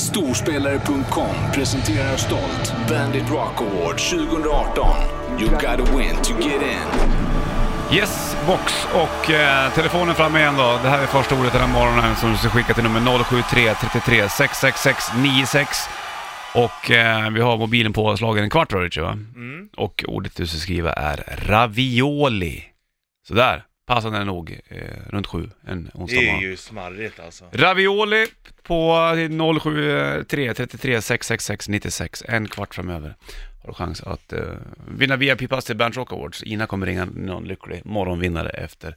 Storspelare.com presenterar stolt Bandit Rock Award 2018. You gotta win to get in. Yes, box och eh, telefonen fram igen då. Det här är första ordet den här morgonen som du ska skicka till nummer 073 33 666 96. Och eh, vi har mobilen påslagen en kvart då, Richie, va? Och ordet du ska skriva är ravioli. Sådär, passande nog eh, runt sju en onsdag Det är morgon. ju smarrigt alltså. Ravioli på 073 33 666 96, en kvart framöver. Har du chans att eh, vinna VIP-pass till Bernt Rock Awards. Ina kommer ringa någon lycklig morgonvinnare efter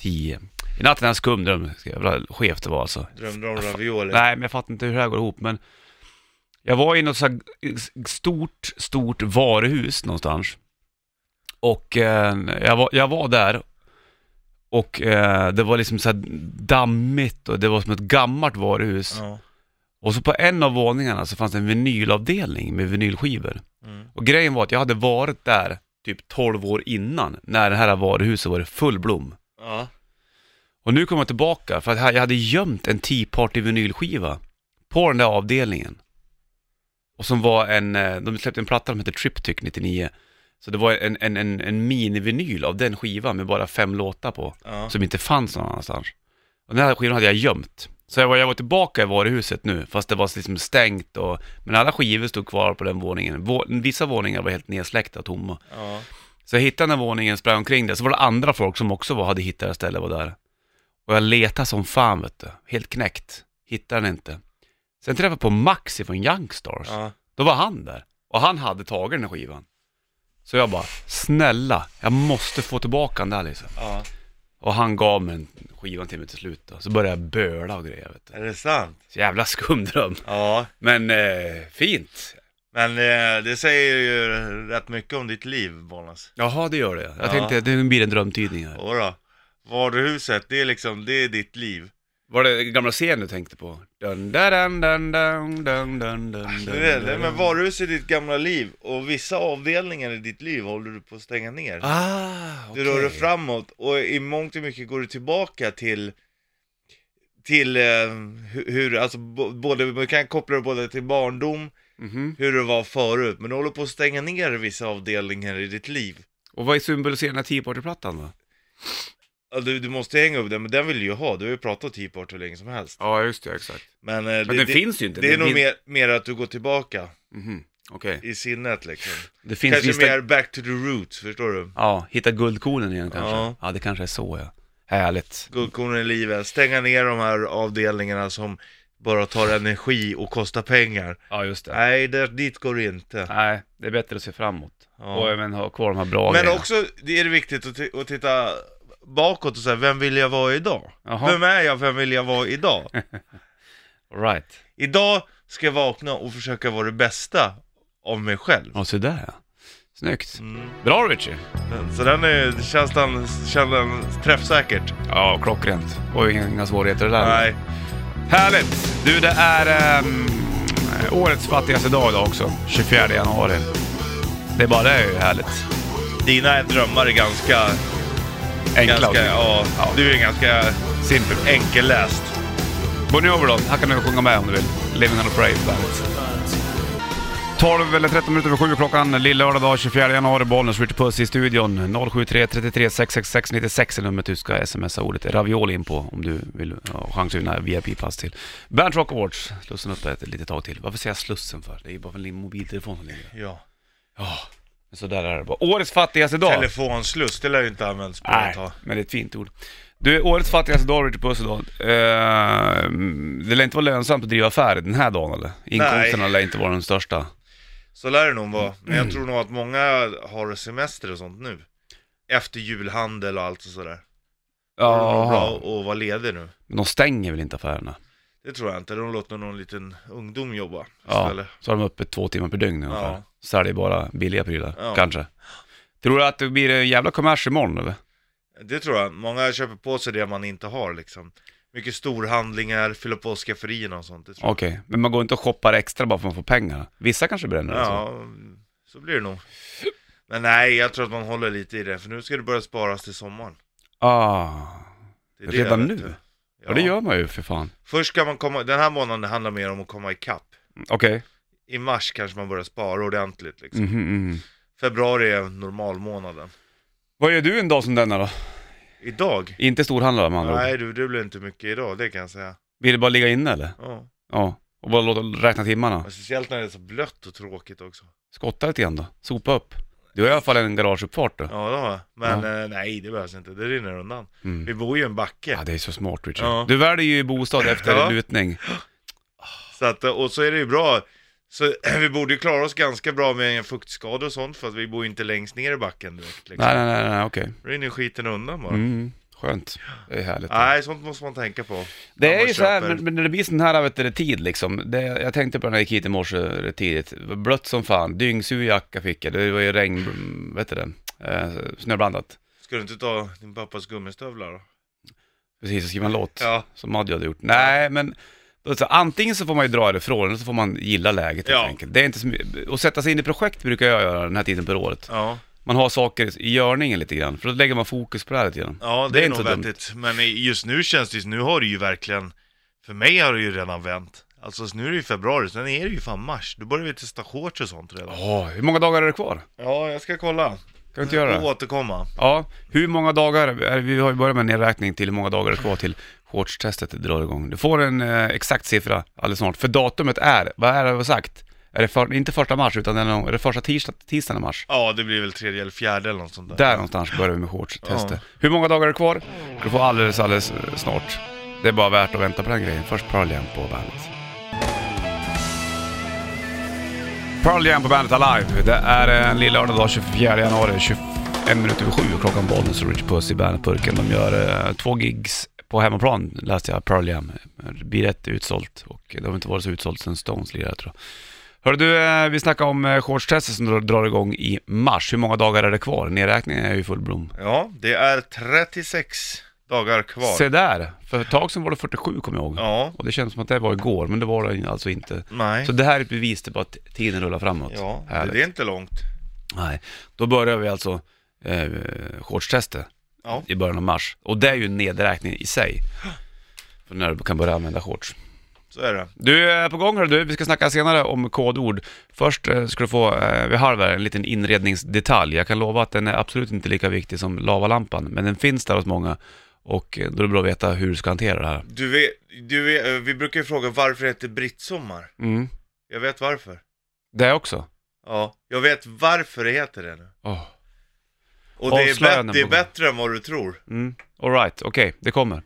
10. I natten är en skum dröm, ska jag- jävla skevt det var alltså. Drömde om ravioli. Nej, men jag fattar inte hur det här går ihop, men jag var i något så här stort, stort varuhus någonstans. Och eh, jag, var, jag var där och eh, det var liksom så här dammigt och det var som ett gammalt varuhus. Ja. Och så på en av våningarna så fanns det en vinylavdelning med vinylskivor. Mm. Och grejen var att jag hade varit där typ 12 år innan, när det här varuhuset var i full blom. Ja. Och nu kom jag tillbaka för att jag hade gömt en Tea Party vinylskiva på den där avdelningen. Och som var en, eh, de släppte en platta som hette Triptych 99. Så det var en, en, en, en minivinyl av den skivan med bara fem låtar på. Ja. Som inte fanns någon annanstans. Och den här skivan hade jag gömt. Så jag var, jag var tillbaka i varuhuset nu, fast det var liksom stängt och... Men alla skivor stod kvar på den våningen. Vå, vissa våningar var helt nedsläckta och tomma. ja. Så jag hittade den här våningen, sprang omkring där, så var det andra folk som också var, hade hittat det här stället var där. Och jag letade som fan vet du, helt knäckt. Hittade den inte. Sen träffade jag på Maxi från Youngstars. ja. Då var han där. Och han hade tagit den här skivan. Så jag bara, snälla, jag måste få tillbaka den där liksom. ja. Och han gav mig en- skivan till mig till slut då. Så började jag böla och grejer vet du. Är det sant? Så jävla skum dröm. Ja. Men eh, fint. Men eh, det säger ju rätt mycket om ditt liv, Bollnäs. Jaha, det gör det. Jag Ja. tänkte, det blir en drömtidning här. Jodå. Varuhuset, det är liksom, det är ditt liv. Var det gamla scen du tänkte på? Dun, dun, dun, dun, dun, dun, dun, dun, Ah, Det är det. Nej, men varuhuset är ditt gamla liv och vissa avdelningar i ditt liv håller du på att stänga ner. Ah, Du okej. rör dig framåt och i mångt och mycket går du tillbaka till till eh, hu- hur, alltså bo- både, man kan koppla det både till barndom, Mhm. hur det var förut, men du håller på att stänga ner vissa avdelningar i ditt liv. Och vad symboliserar den här tiopartyplattan då? Ja, Du, du måste hänga upp den, men den vill du ju ha, du har ju pratat om T-part hur länge som helst. Ja, just det, exakt. Men, eh, Men det, den finns ju inte. det, det är Den nog fin- mer, mer att du går tillbaka Mhm, Okej. i sinnet liksom. Det finns Kanske vissa... mer back to the roots, förstår du? Ja, hitta guldkornen igen kanske. Ja. Ja. det kanske är så ja. Härligt. guldkornen i livet, stänga ner de här avdelningarna som bara tar energi och kostar pengar. Ja, just det. Nej, det, dit går det inte. Nej, det är bättre att se framåt. Ja. Och även ha kvar de här bra Men grejerna. också det är det viktigt att, ti- att titta bakåt och säga, vem vill jag vara idag? Jaha. Vem är jag, vem vill jag vara idag? Right. idag ska jag vakna och försöka vara det bästa av mig själv. Ja, så där ja. Snyggt. Mm. Bra Richie. Så den är, känns den, känns den träffsäkert? Ja, klockrent. Och inga svårigheter där. Nej. Härligt! Du, det är ehm, årets fattigaste dag idag också. 24 januari. Det är bara det är ju härligt. Dina drömmar är ganska, Enkla ganska, också. ja, Ja. du är ganska Simpelt. enkelläst. Bon Jovi då, här kan du sjunga med om du vill. Living on a prayer bandet. 12 eller 13 minuter över 7 klockan, lill-lördag dag 24 januari, Bollnäs, Ritchie Puss i studion. 073 33 666 96 är numret du ska smsa ordet ravioli in på om du vill ha chans att vinna VIP-pass till Bernt Rock Awards. Slussen upp ett litet tag till. Varför säger jag Slussen för? Det är ju bara för din mobiltelefon som ligger där. Ja. Ja, men så där är det bara. Årets fattigaste dag. Telefonsluss, det lär ju inte använts på Nej, ett tag. men det är ett fint ord. Du, är årets fattigaste dag, Richard Puss idag. Eh, det lär inte vara lönsamt att driva affärer den här dagen eller? Inkomsterna lär inte vara de största. Så lär det nog vara. Men Mm. jag tror nog att många har semester och sånt nu. Efter julhandel och allt och sådär. Det är nog bra Ja, att vara ledig nu. men de stänger väl inte affärerna? Det tror jag inte. De låter någon liten ungdom jobba Ja, istället. så har de öppet två timmar per dygn ungefär. Ja. Säljer bara billiga prylar, Ja. kanske. Tror du att det blir en jävla kommers imorgon eller? Det tror jag. Många köper på sig det man inte har liksom. Mycket storhandlingar, fylla på skafferierna och sånt. Det tror Okej, men man går inte och shoppar extra bara för att man får pengar. Vissa kanske bränner jag. det, så. Ja, så blir det nog. Men nej, jag tror att man håller lite i det. För nu ska det börja sparas till sommaren. Ah, Det Redan vet nu? du. Ja, det gör man ju för fan. Först ska man komma, den här månaden handlar mer om att komma ikapp. Okej. I mars kanske man börjar spara ordentligt liksom. Mhm, mhm. Februari är normalmånaden. Vad gör du en dag som denna då? Idag? Inte storhandlare med andra ord. Nej du, det blir inte mycket idag, det kan jag säga. Vill du bara ligga inne eller? Ja. Ja. Och bara låta räkna timmarna. Men Speciellt när det är så blött och tråkigt också. Skotta lite grann då. Sopa upp. Du har i alla fall en garageuppfart då. Ja, det har jag. Men eh, nej, det behövs inte. Det rinner undan. Vi bor ju i en backe. Mm. Ja, det är så smart Richard. Ja. Du väljer ju bostad efter Ja. lutning. Så att, eh, och så är det ju bra. Så vi borde ju klara oss ganska bra med fuktskador och sånt för att vi bor ju inte längst ner i backen direkt. Liksom. Nej, nej, nej, nej okej. Då rinner skiten undan bara. Mm. Skönt. Det är härligt. Nej, sånt måste man tänka på. Det Ja, är man ju så här, köper. men, men när det blir sån här vet du, tid liksom. Det, jag tänkte på den här jag gick hit i morse eh, tidigt. Det var Blött som fan, dyngsur jacka fick jag. Det var ju regn, mm, vet du det, eh, snöblandat. Ska du inte ta din pappas gummistövlar då? Precis, och skriva en låt. Ja. Som Madjo hade gjort. Nej, men då, så, antingen så får man ju dra ifrån eller så får man gilla läget helt Ja. enkelt. Det är inte så, my- och sätta sig in i projekt brukar jag göra den här tiden på året. Ja, Man har saker i görningen lite grann, för då lägger man fokus på det här lite grann. ja det, Det är är, inte nog så dumt. vettigt. Men i- just nu känns det ju, nu har det ju verkligen, för mig har det ju redan vänt. Alltså nu är det ju februari, sen är det ju fan mars. Då börjar vi testa shorts och sånt redan. Åh, hur många dagar är det kvar? Ja, jag ska kolla. Kan du inte göra det? Och återkomma. Ja, hur många dagar, är- vi har ju börjat med en nedräkning till hur många dagar det är kvar till shortstestet drar igång. Du får en eh, exakt siffra alldeles snart, för datumet är, vad är det vi har sagt? Är det för, inte första mars, utan det är, någon, är det första tisdag, tisdagen i mars? Ja, det blir väl tredje eller fjärde eller något sånt där. Där någonstans börjar vi med shortstestet. Ja. Hur många dagar är det kvar? Du får alldeles, alldeles eh, snart. Det är bara värt att vänta på den grejen. Först Pearl Jam på bandet. Pearl Jam på bandet Alive. Det är eh, en lilla lördag dag 24 januari, 21 minuter över sju. Klockan Bollnäs och Rich Puss i bandetburken. De gör eh, två gigs på hemmaplan, läste jag. Pearl Jam. Det blir rätt utsålt och eh, det har inte varit så utsålt sedan Stones lirade tror jag. Hörru du, eh, vi snackade om eh, shortstestet som drar- drar igång i mars. Hur många dagar är det kvar? Nedräkningen är ju i full blom. Ja, det är 36 dagar kvar. Se där! För ett tag sedan var det 47 kommer jag ihåg. Ja, Och det känns som att det var igår, men det var det alltså inte. nej. Så det här är ett bevis på att tiden rullar framåt. Ja, det, Härligt. det är inte långt. Nej. Då börjar vi alltså eh, shortstestet Ja. i början av mars. Och det är ju en nedräkning i sig. För när du kan börja använda shorts. Så är det. Du är på gång hörru du, vi ska snacka senare om kodord. Först eh, ska du få, eh, vid halv här, en liten inredningsdetalj. Jag kan lova att den är absolut inte lika viktig som lavalampan, men den finns där hos många. Och eh, då är det bra att veta hur du ska hantera det här. Du vet, du vet, eh, vi brukar ju fråga varför det heter brittsommar. Mm. Jag vet varför. Det också. Ja, jag vet varför det heter det nu. Oh. Och det är, Avslöjande bä- det är på gång. bättre än vad du tror. Mm. Alright, okej, det kommer.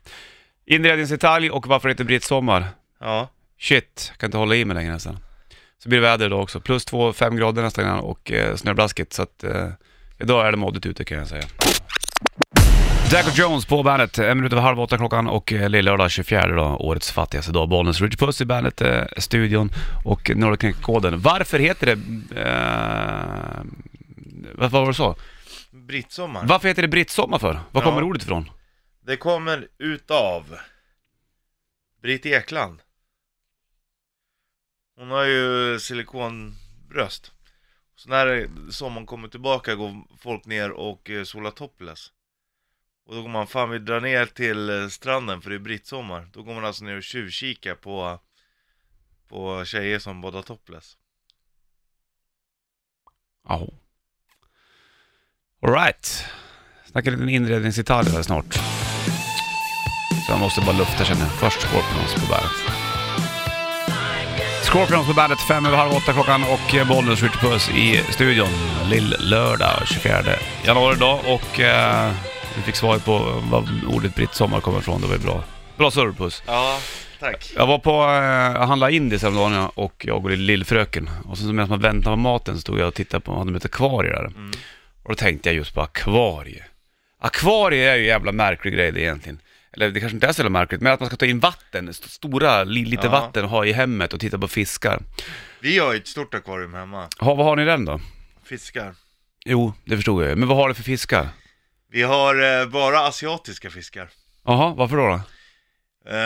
Inredningsdetalj och varför det heter brittsommar. Ja, Shit, jag kan inte hålla i mig längre nästan. Så blir det väder idag också. Plus två, fem grader nästan innan och eh, snöblaskigt. Så att eh, idag är det moddigt ute kan jag säga. Jack och Jones på bandet, en minut över halv åtta klockan och eh, lillördag 24 då, årets fattigaste dag. Bollnäs Richard Puss i bandet, eh, studion och nu har du knäckt koden. Varför heter det... Eh, vad vad var det så? brittsommar. Varför heter det brittsommar för? Var Ja. kommer ordet ifrån? Det kommer utav Britt Ekland. Hon har ju silikonbröst. Så när sommaren kommer tillbaka går folk ner och eh, solar topless. Och då går man, fan vi drar ner till eh, stranden för det är brittsommar. Då går man alltså ner och tjuvkika på, på tjejer som badar topless. Jaha. Alright. Snackar lite inredningsdetaljer här snart. Så jag måste bara lufta känner jag. Först Scorpions på bandet. Scorpions på bandet, fem över halv åtta klockan och eh, Bollnäs Ritchie Puss i studion. Lill-lördag 24 januari idag och eh, vi fick svar på var ordet brittsommar kommer ifrån. Det var ju bra. Bra surr Puss. Ja, tack. Jag var på eh, jag handlade indis häromdagen jag- och jag och lillfröken. Och sen så medan man väntade på maten så stod jag och tittade på, hade de ett akvarie där. Och då tänkte jag just på akvarie. Akvarie är ju en jävla märklig grej det egentligen. Eller det kanske inte är så jävla märkligt, men att man ska ta in vatten, st- stora, li- lite Ja. vatten och ha i hemmet och titta på fiskar. Vi har ju ett stort akvarium hemma. Ha, vad har ni i den då? Fiskar. Jo, det förstod jag ju. Men vad har det för fiskar? Vi har eh, bara asiatiska fiskar. Jaha, varför då? då? Eh,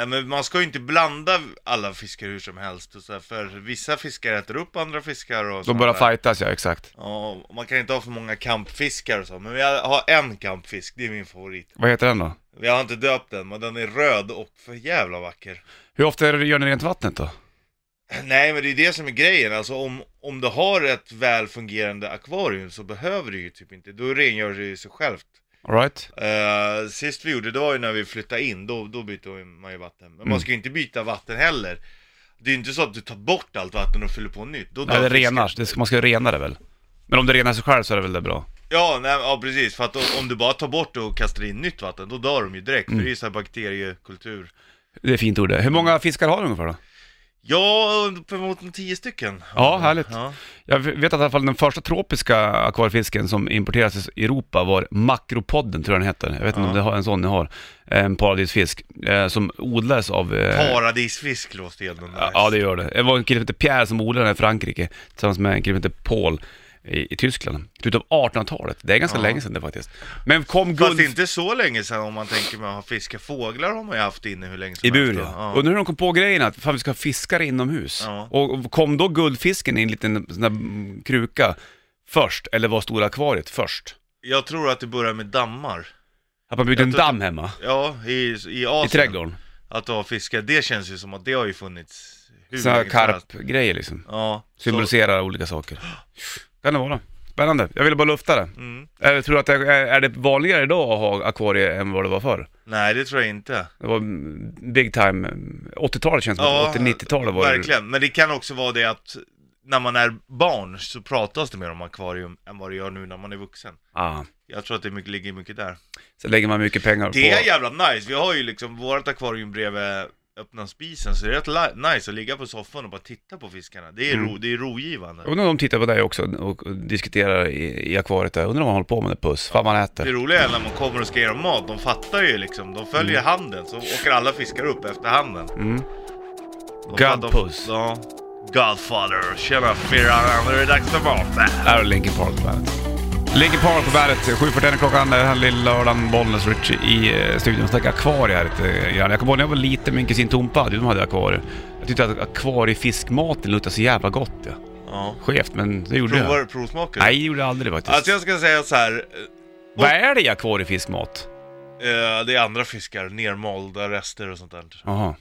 ja, men man ska ju inte blanda alla fiskar hur som helst, och så här, för vissa fiskar äter upp andra fiskar och De sånt börjar där. fightas ja, exakt. Ja, och man kan inte ha för många kampfiskar och så, men jag har en kampfisk, det är min favorit. Vad heter den då? Jag har inte döpt den, men den är röd och för jävla vacker. Hur ofta är det- gör ni rent vattnet då? Nej, men det är ju det som är grejen. Alltså om, om du har ett väl fungerande akvarium så behöver du ju typ inte, då rengör det ju sig självt. All right? Eh, sist vi gjorde det var ju när vi flyttade in, då, då bytte man ju vatten. Men Mm. man ska ju inte byta vatten heller. Det är ju inte så att du tar bort allt vatten och fyller på nytt. Då Nej, dör det fisken. renar. Det ska, man ska rena det väl? Men om det renar sig själv så är det väl det bra? Ja, nej, ja precis, för att om- om du bara tar bort och kastar in nytt vatten, då dör de ju direkt, för det Mm. är ju så här bakteriekultur. Det är fint ord det. Hur många fiskar har du ungefär då? Ja, uppemot tio stycken. Ja, härligt. Ja. Jag vet att i alla fall den första tropiska akvariefisken som importerades i Europa var makropodden, tror jag den heter. Jag vet inte om det har en sån ni har. En paradisfisk eh, som odlades av... Eh, Paradisfisk låter ju ändå nice. ja, det gör det. Det var en kille som hette Pierre som odlade den i Frankrike tillsammans med en kille som hette Paul i, i Tyskland. Slutet av 1800-talet. Det är ganska länge sedan det faktiskt. Men kom Fast guld... det är inte så länge sedan om man tänker med att ha fiska fåglar har man ju haft inne hur länge som I bur helst. ja. då. ja. Undrar hur de kom på grejen att fan, vi ska ha fiskar inomhus. Ja. Och och kom då guldfisken i en liten sån där mm, kruka först, eller var stora akvariet först? Jag tror att det börjar med dammar. Att man byggde Jag en tror- damm hemma, Ja, i, i Asien. i trädgården. Att ha fiskar, det känns ju som att det har ju funnits hur Såna här länge som helst. karpgrejer liksom. Ja, så, Symboliserar olika saker. Kan det vara. Spännande. Jag ville bara lufta det. Mm. Jag tror att det är, är det vanligare idag att ha akvarier än vad det var förr? nej det tror jag inte. Det var mm, big time, mm, 80-talet känns det Ja, som, 80-90-talet var det. Verkligen, men det kan också vara det att när man är barn så pratas det mer om akvarium än vad det gör nu när man är vuxen. Ah. Jag tror att det mycket, ligger mycket där. Så lägger man mycket pengar Det på... är jävla nice, vi har ju liksom vårt akvarium bredvid öppna spisen så det är rätt li- nice att ligga på soffan och bara titta på fiskarna. Det är, ro, det är rogivande. Jag undrar om de tittar på dig också och diskuterar i, i akvariet där. Undrar om man håller på med det puss. Fan man Det äter. roliga är när man kommer och ska ge dem mat, de fattar ju liksom, de följer handen så åker alla fiskar upp efter handen. Mm. De God fattar- puss. Ja. Godfather, tjena firaren, nu är det dags för mat. Här har Linkin Park på bandet. Linkin Park på bandet. 7.41 är klockan. Det här är lilla lördagen. Bollnäs Rich i eh, studion. Snackar akvarie här lite grann. Jag kommer ihåg när jag var liten, min kusin Tompa, de hade akvarier. Jag tyckte att akvariefiskmaten luktade så jävla gott. Ja. Ja. Skevt, men det gjorde Provar jag. du provsmaker? Nej, det gjorde jag aldrig faktiskt. Alltså jag ska säga så här. Vad är det i akvariefiskmat? eh, det är andra fiskar, nermalda rester och sånt där. Jaha.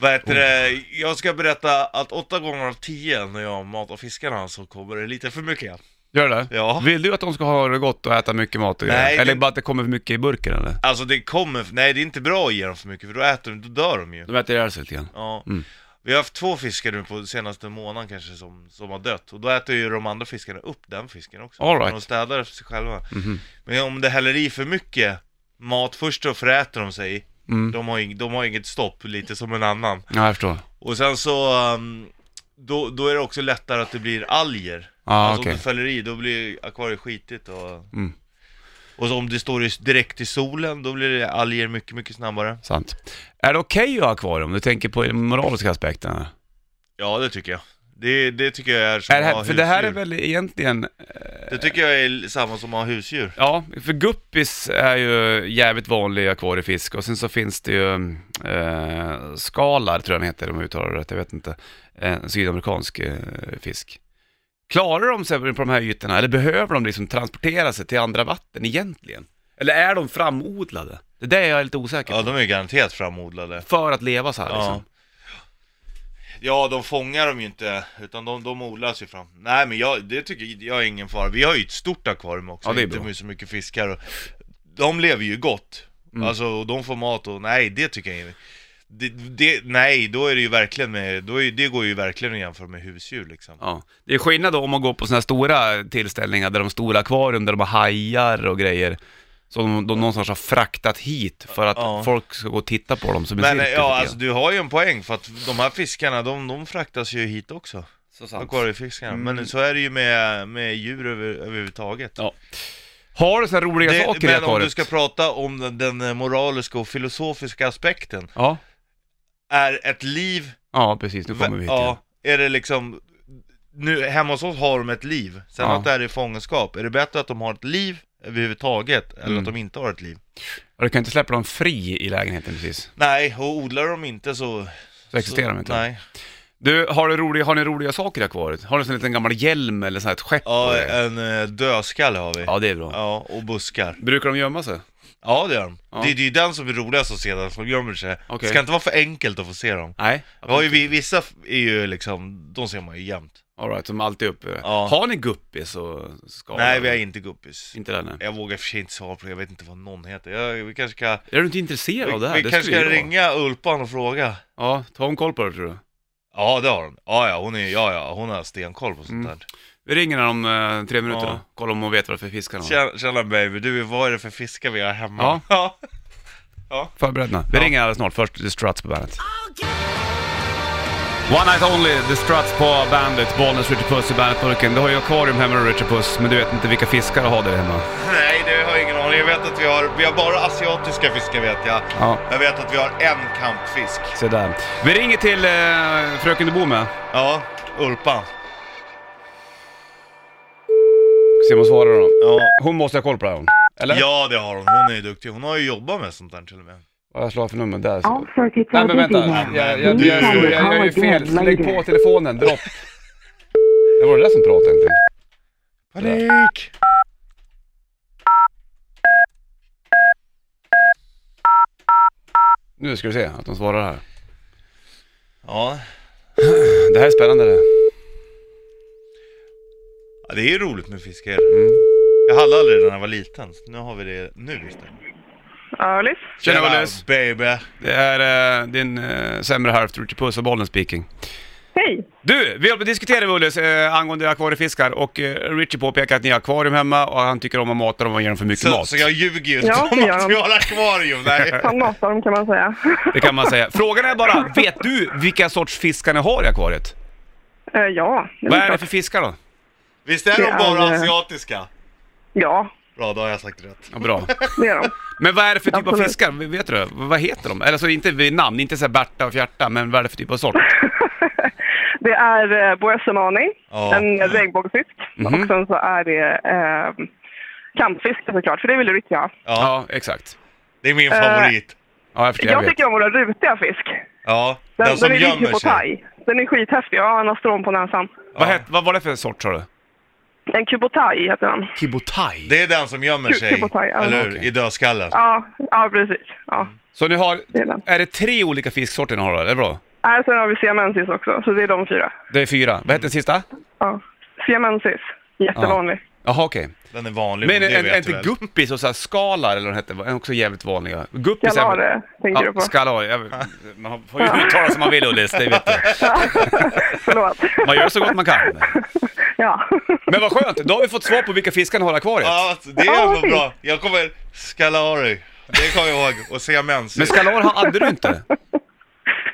Vad heter det? Jag ska berätta att åtta gånger av tio när jag matar fiskarna så kommer det lite för mycket. Gör det? Ja. Vill du att de ska ha det gott och äta mycket mat och Nej, grejer? Eller det- bara att det kommer för mycket i burken eller? Alltså det kommer, nej det är inte bra att ge dem för mycket för då äter de, då dör de ju. De äter ihjäl sig lite grann. Ja. Mm. Vi har haft två fiskar nu på senaste månaden kanske som, som har dött och då äter ju de andra fiskarna upp den fisken också. All right. De städar efter sig själva. Mhm. Men om det häller i för mycket mat först så föräter de sig. Mm. De, har ing, de har inget stopp, lite som en annan. Ja, jag förstår. Och sen så, ehm, då, då är det också lättare att det blir alger. Ah, alltså okej. om du fäller i, då blir akvariet skitigt och... Mm. Och så om det står i, direkt i solen, då blir det alger mycket, mycket snabbare. Sant. Är det okej att ha akvarium? Du tänker på den moraliska aspekten här. Ja, det tycker jag. Det, det tycker jag är som Är det att ha här, för det här är husdjur. väl egentligen, Det tycker jag är samma som att ha husdjur. ja, för guppis är ju jävligt vanlig akvariefisk och sen så finns det ju eh, skalar, tror jag den heter, om jag uttalar det rätt, jag vet inte. En sydamerikansk eh, fisk. Klarar de sig på de här ytorna eller behöver de liksom transportera sig till andra vatten egentligen? Eller är de framodlade? Det där är jag lite osäker på. Ja, de är ju garanterat framodlade. För att leva så här liksom. Ja. Ja, de fångar dem ju inte, utan de, de odlas ju fram. Nej, men jag, det tycker jag, jag är ingen fara. Vi har ju ett stort akvarium också, Ja, det är inte bra. med så mycket fiskar. Och, de lever ju gott, Mm. alltså och de får mat och nej, det tycker jag inte. Det, det, nej, då är det ju verkligen med, då är, det går ju verkligen att jämföra med husdjur liksom. Ja. Det är skillnad då om man går på sådana här stora tillställningar där de stora akvarium, där de har hajar och grejer. Som de, de någonstans har fraktat hit för att Ja. folk ska gå och titta på dem som en Men cirkus. tycker ja, jag. alltså du har ju en poäng för att de här fiskarna, de, de fraktas ju hit också. Så sant. Akvariefiskarna. Mm. Men så är det ju med, med djur över, överhuvudtaget. Ja. Har du sådana roliga Det, saker i men om du akvariet? ska prata om den, den eh, moraliska och filosofiska aspekten, Ja. är ett liv... ja, precis. Nu kommer vi hit igen. ja, är det liksom... Nu, hemma hos oss har de ett liv, sen Ja. att det här är fångenskap, är det bättre att de har ett liv överhuvudtaget, eller Mm. att de inte har ett liv? Och Du kan inte släppa dem fri i lägenheten precis. Nej, och odlar de inte så... Så existerar de inte. Nej. Du, har, du roliga, har ni roliga saker i akvariet? Har du en sån liten gammal hjälm eller sån här ett skepp? och Ja, grejer? en eh, dödskalle har vi. ja, det är bra. Ja, och buskar. Brukar de gömma sig? Ja det gör de. Ja. Det, det är ju den som är roligast att se, den som gömmer sig. Okej. Det ska inte vara för enkelt att få se dem. Nej. Jag har ju, vi- vissa f- är ju liksom, de ser man ju jämt. All right, som alltid uppe. Ja. Har ni guppis och skador? Nej vi har inte guppis. Inte det? nej. Jag vågar i och för sig inte svara på det, jag vet inte vad någon heter. Jag, vi kanske ska, Är du inte intresserad av det här? vi, det vi kanske skulle ska ju vara. ringa Ulpan och fråga. Ja, ta en koll på det tror du. Ja det har hon. Ja ja, hon, är, ja, ja, hon har stenkoll på sånt Mm. där. Vi ringer henne om eh, tre minuter Ja. då. Kolla om hon vet vad det är för fiskar hon har. Tjena, tjena baby, du vad är det för fiskar vi har hemma? Ja. ja. Förberedna. Vi ringer alldeles snart. Först The Struts på bandet. One Night Only, The Struts på bandet. Bollnäs, Richard Puss i bandetburken. Du har ju akvarium hemma då, Richard Puss, men du vet inte vilka fiskar du har där hemma. Nej det har jag ingen aning, jag vet att vi har, vi har bara asiatiska fiskar vet jag. Ja. Jag vet att vi har en kampfisk. Se där. Vi ringer till eh, fröken du bor med. Ja, Ulpan. Se om hon svarar då. Ja. Hon måste ha koll på det här hon. Eller? ja, det har hon. Hon är ju duktig. Hon har ju jobbat med sånt där till och med. Vad har jag slagit för nummer? Där. så. All circuits Nej are men busy vänta, now. jag, jag, jag, Please jag, try jag, to jag call gör ju fel. again Lägg på later. telefonen, dropp. Det var det där som pratade egentligen. Panik! Nu ska du se att de svarar här. Ja. Det här är spännande det. ja, det är ju roligt med fiskar. Mm. Jag hade aldrig det när jag var liten. så Nu har vi det nu istället. Alice? Tjena Ullis! baby! Det är eh, din eh, sämre hälft, Richard Puss och bollen speaking. Hej! Du, vi håller på att diskutera Ullis eh, angående akvariefiskar och eh, Richard påpekar att ni har akvarium hemma och han tycker om att mata dem och ge dem för mycket Så, mat. så jag ljuger ju inte Ja, om det gör att han. vi har akvarium. Nej. Han matar dem kan man säga. Det kan man säga. Frågan är bara, vet du vilka sorts fiskar ni har i akvariet? Eh, ja, det Vad är är det klart. för fiskar då? Visst är de Det bara är- asiatiska? Ja, Bra, då har jag sagt rätt. Ja, bra. det är de. Men vad är det för typ av Absolut. fiskar? Vet du det? Vad heter de? Eller så inte vid namn, inte så här Berta och Fjärta, men vad är det för typ av sort? Det är eh, boesemani, Ja. en regnbågsfisk. Mhm. Och sen så är det eh, kampfisk såklart, för det vill Rick ha. Ja, Ja, exakt. det är min Eh, favorit. Ja, jag förstår. Jag Jag vet. tycker om våra rutiga fisk. Ja, Den, den, den, som är riktigt gömmer på sig. thai. Den är skithäftig. Ja, han har strån på näsan. Vad, het, vad var det för sort sa du? En kubotai heter han. Kibotai. Det är den som gömmer Kul- sig, kul på thai, ja. eller hur? Okej. I dödskallen. Ja, ja precis. Ja. Så ni har, Det är den. är det tre olika fisksorter ni har då? Är det bra? Äh, sen har vi siamensis också, så det är de fyra. Det är fyra. Vad heter den sista? Ja. Siamensis, jättevanlig. Jaha, okej. Den är vanlig, Men det är- är vet du inte väl? guppis och så här skalar eller vad de hette, är också jävligt vanliga? Guppis är väl- Galare tänker du Ja, på. skalar. Jag- Man får ju uttala som man vill Ullis, det vet du. Förlåt. Man gör så gott man kan. Ja. Men vad skönt, då har vi fått svar på vilka fiskar ni har i akvariet. Ja, alltså, det är Ja, jävla fint. bra. Jag kommer... Scalari. Det kommer jag ihåg. Och siamensis. Men skalar hade du inte?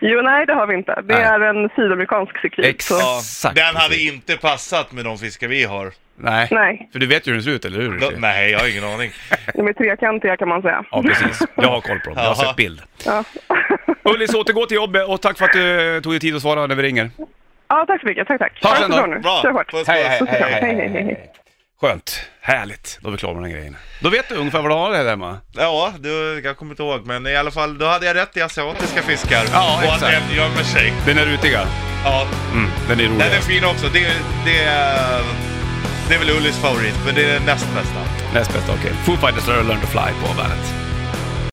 Jo, nej, det har vi inte. Det Nej. är en sydamerikansk cyklid. Exakt. Så, Ja, den hade inte passat med de fiskar vi har. Nej. nej, För du vet ju hur den ser ut, eller hur? Då, nej, jag har ingen aning. de är trekantiga kan man säga. Ja, precis. Jag har koll på dem. Jag har Jaha. sett bild. Ja. Ullis, återgå till jobbet och tack för att du tog dig tid att svara när vi ringer. ja, tack så mycket. Tack, tack. Ta Ha det sen så då. bra nu. Bra! Kör hårt. Puss, Hej, puss. hej, hej, hej, Hej, hej, hej, hej. Skönt. Härligt. Då är vi klara med den här grejen. Då vet du ungefär vad du har det här hemma. Ja, du, jag kommer inte ihåg, men i alla fall, då hade jag rätt i asiatiska fiskar. Ja, och exakt. att den gömmer sig. Den är rutiga. Ja, Mm, den är rolig. den är fin också. Det, det, är- det är väl Ullis favorit, men det är näst bästa. Näst bästa, okej. Foo Fighters, Learn to Fly på bandet.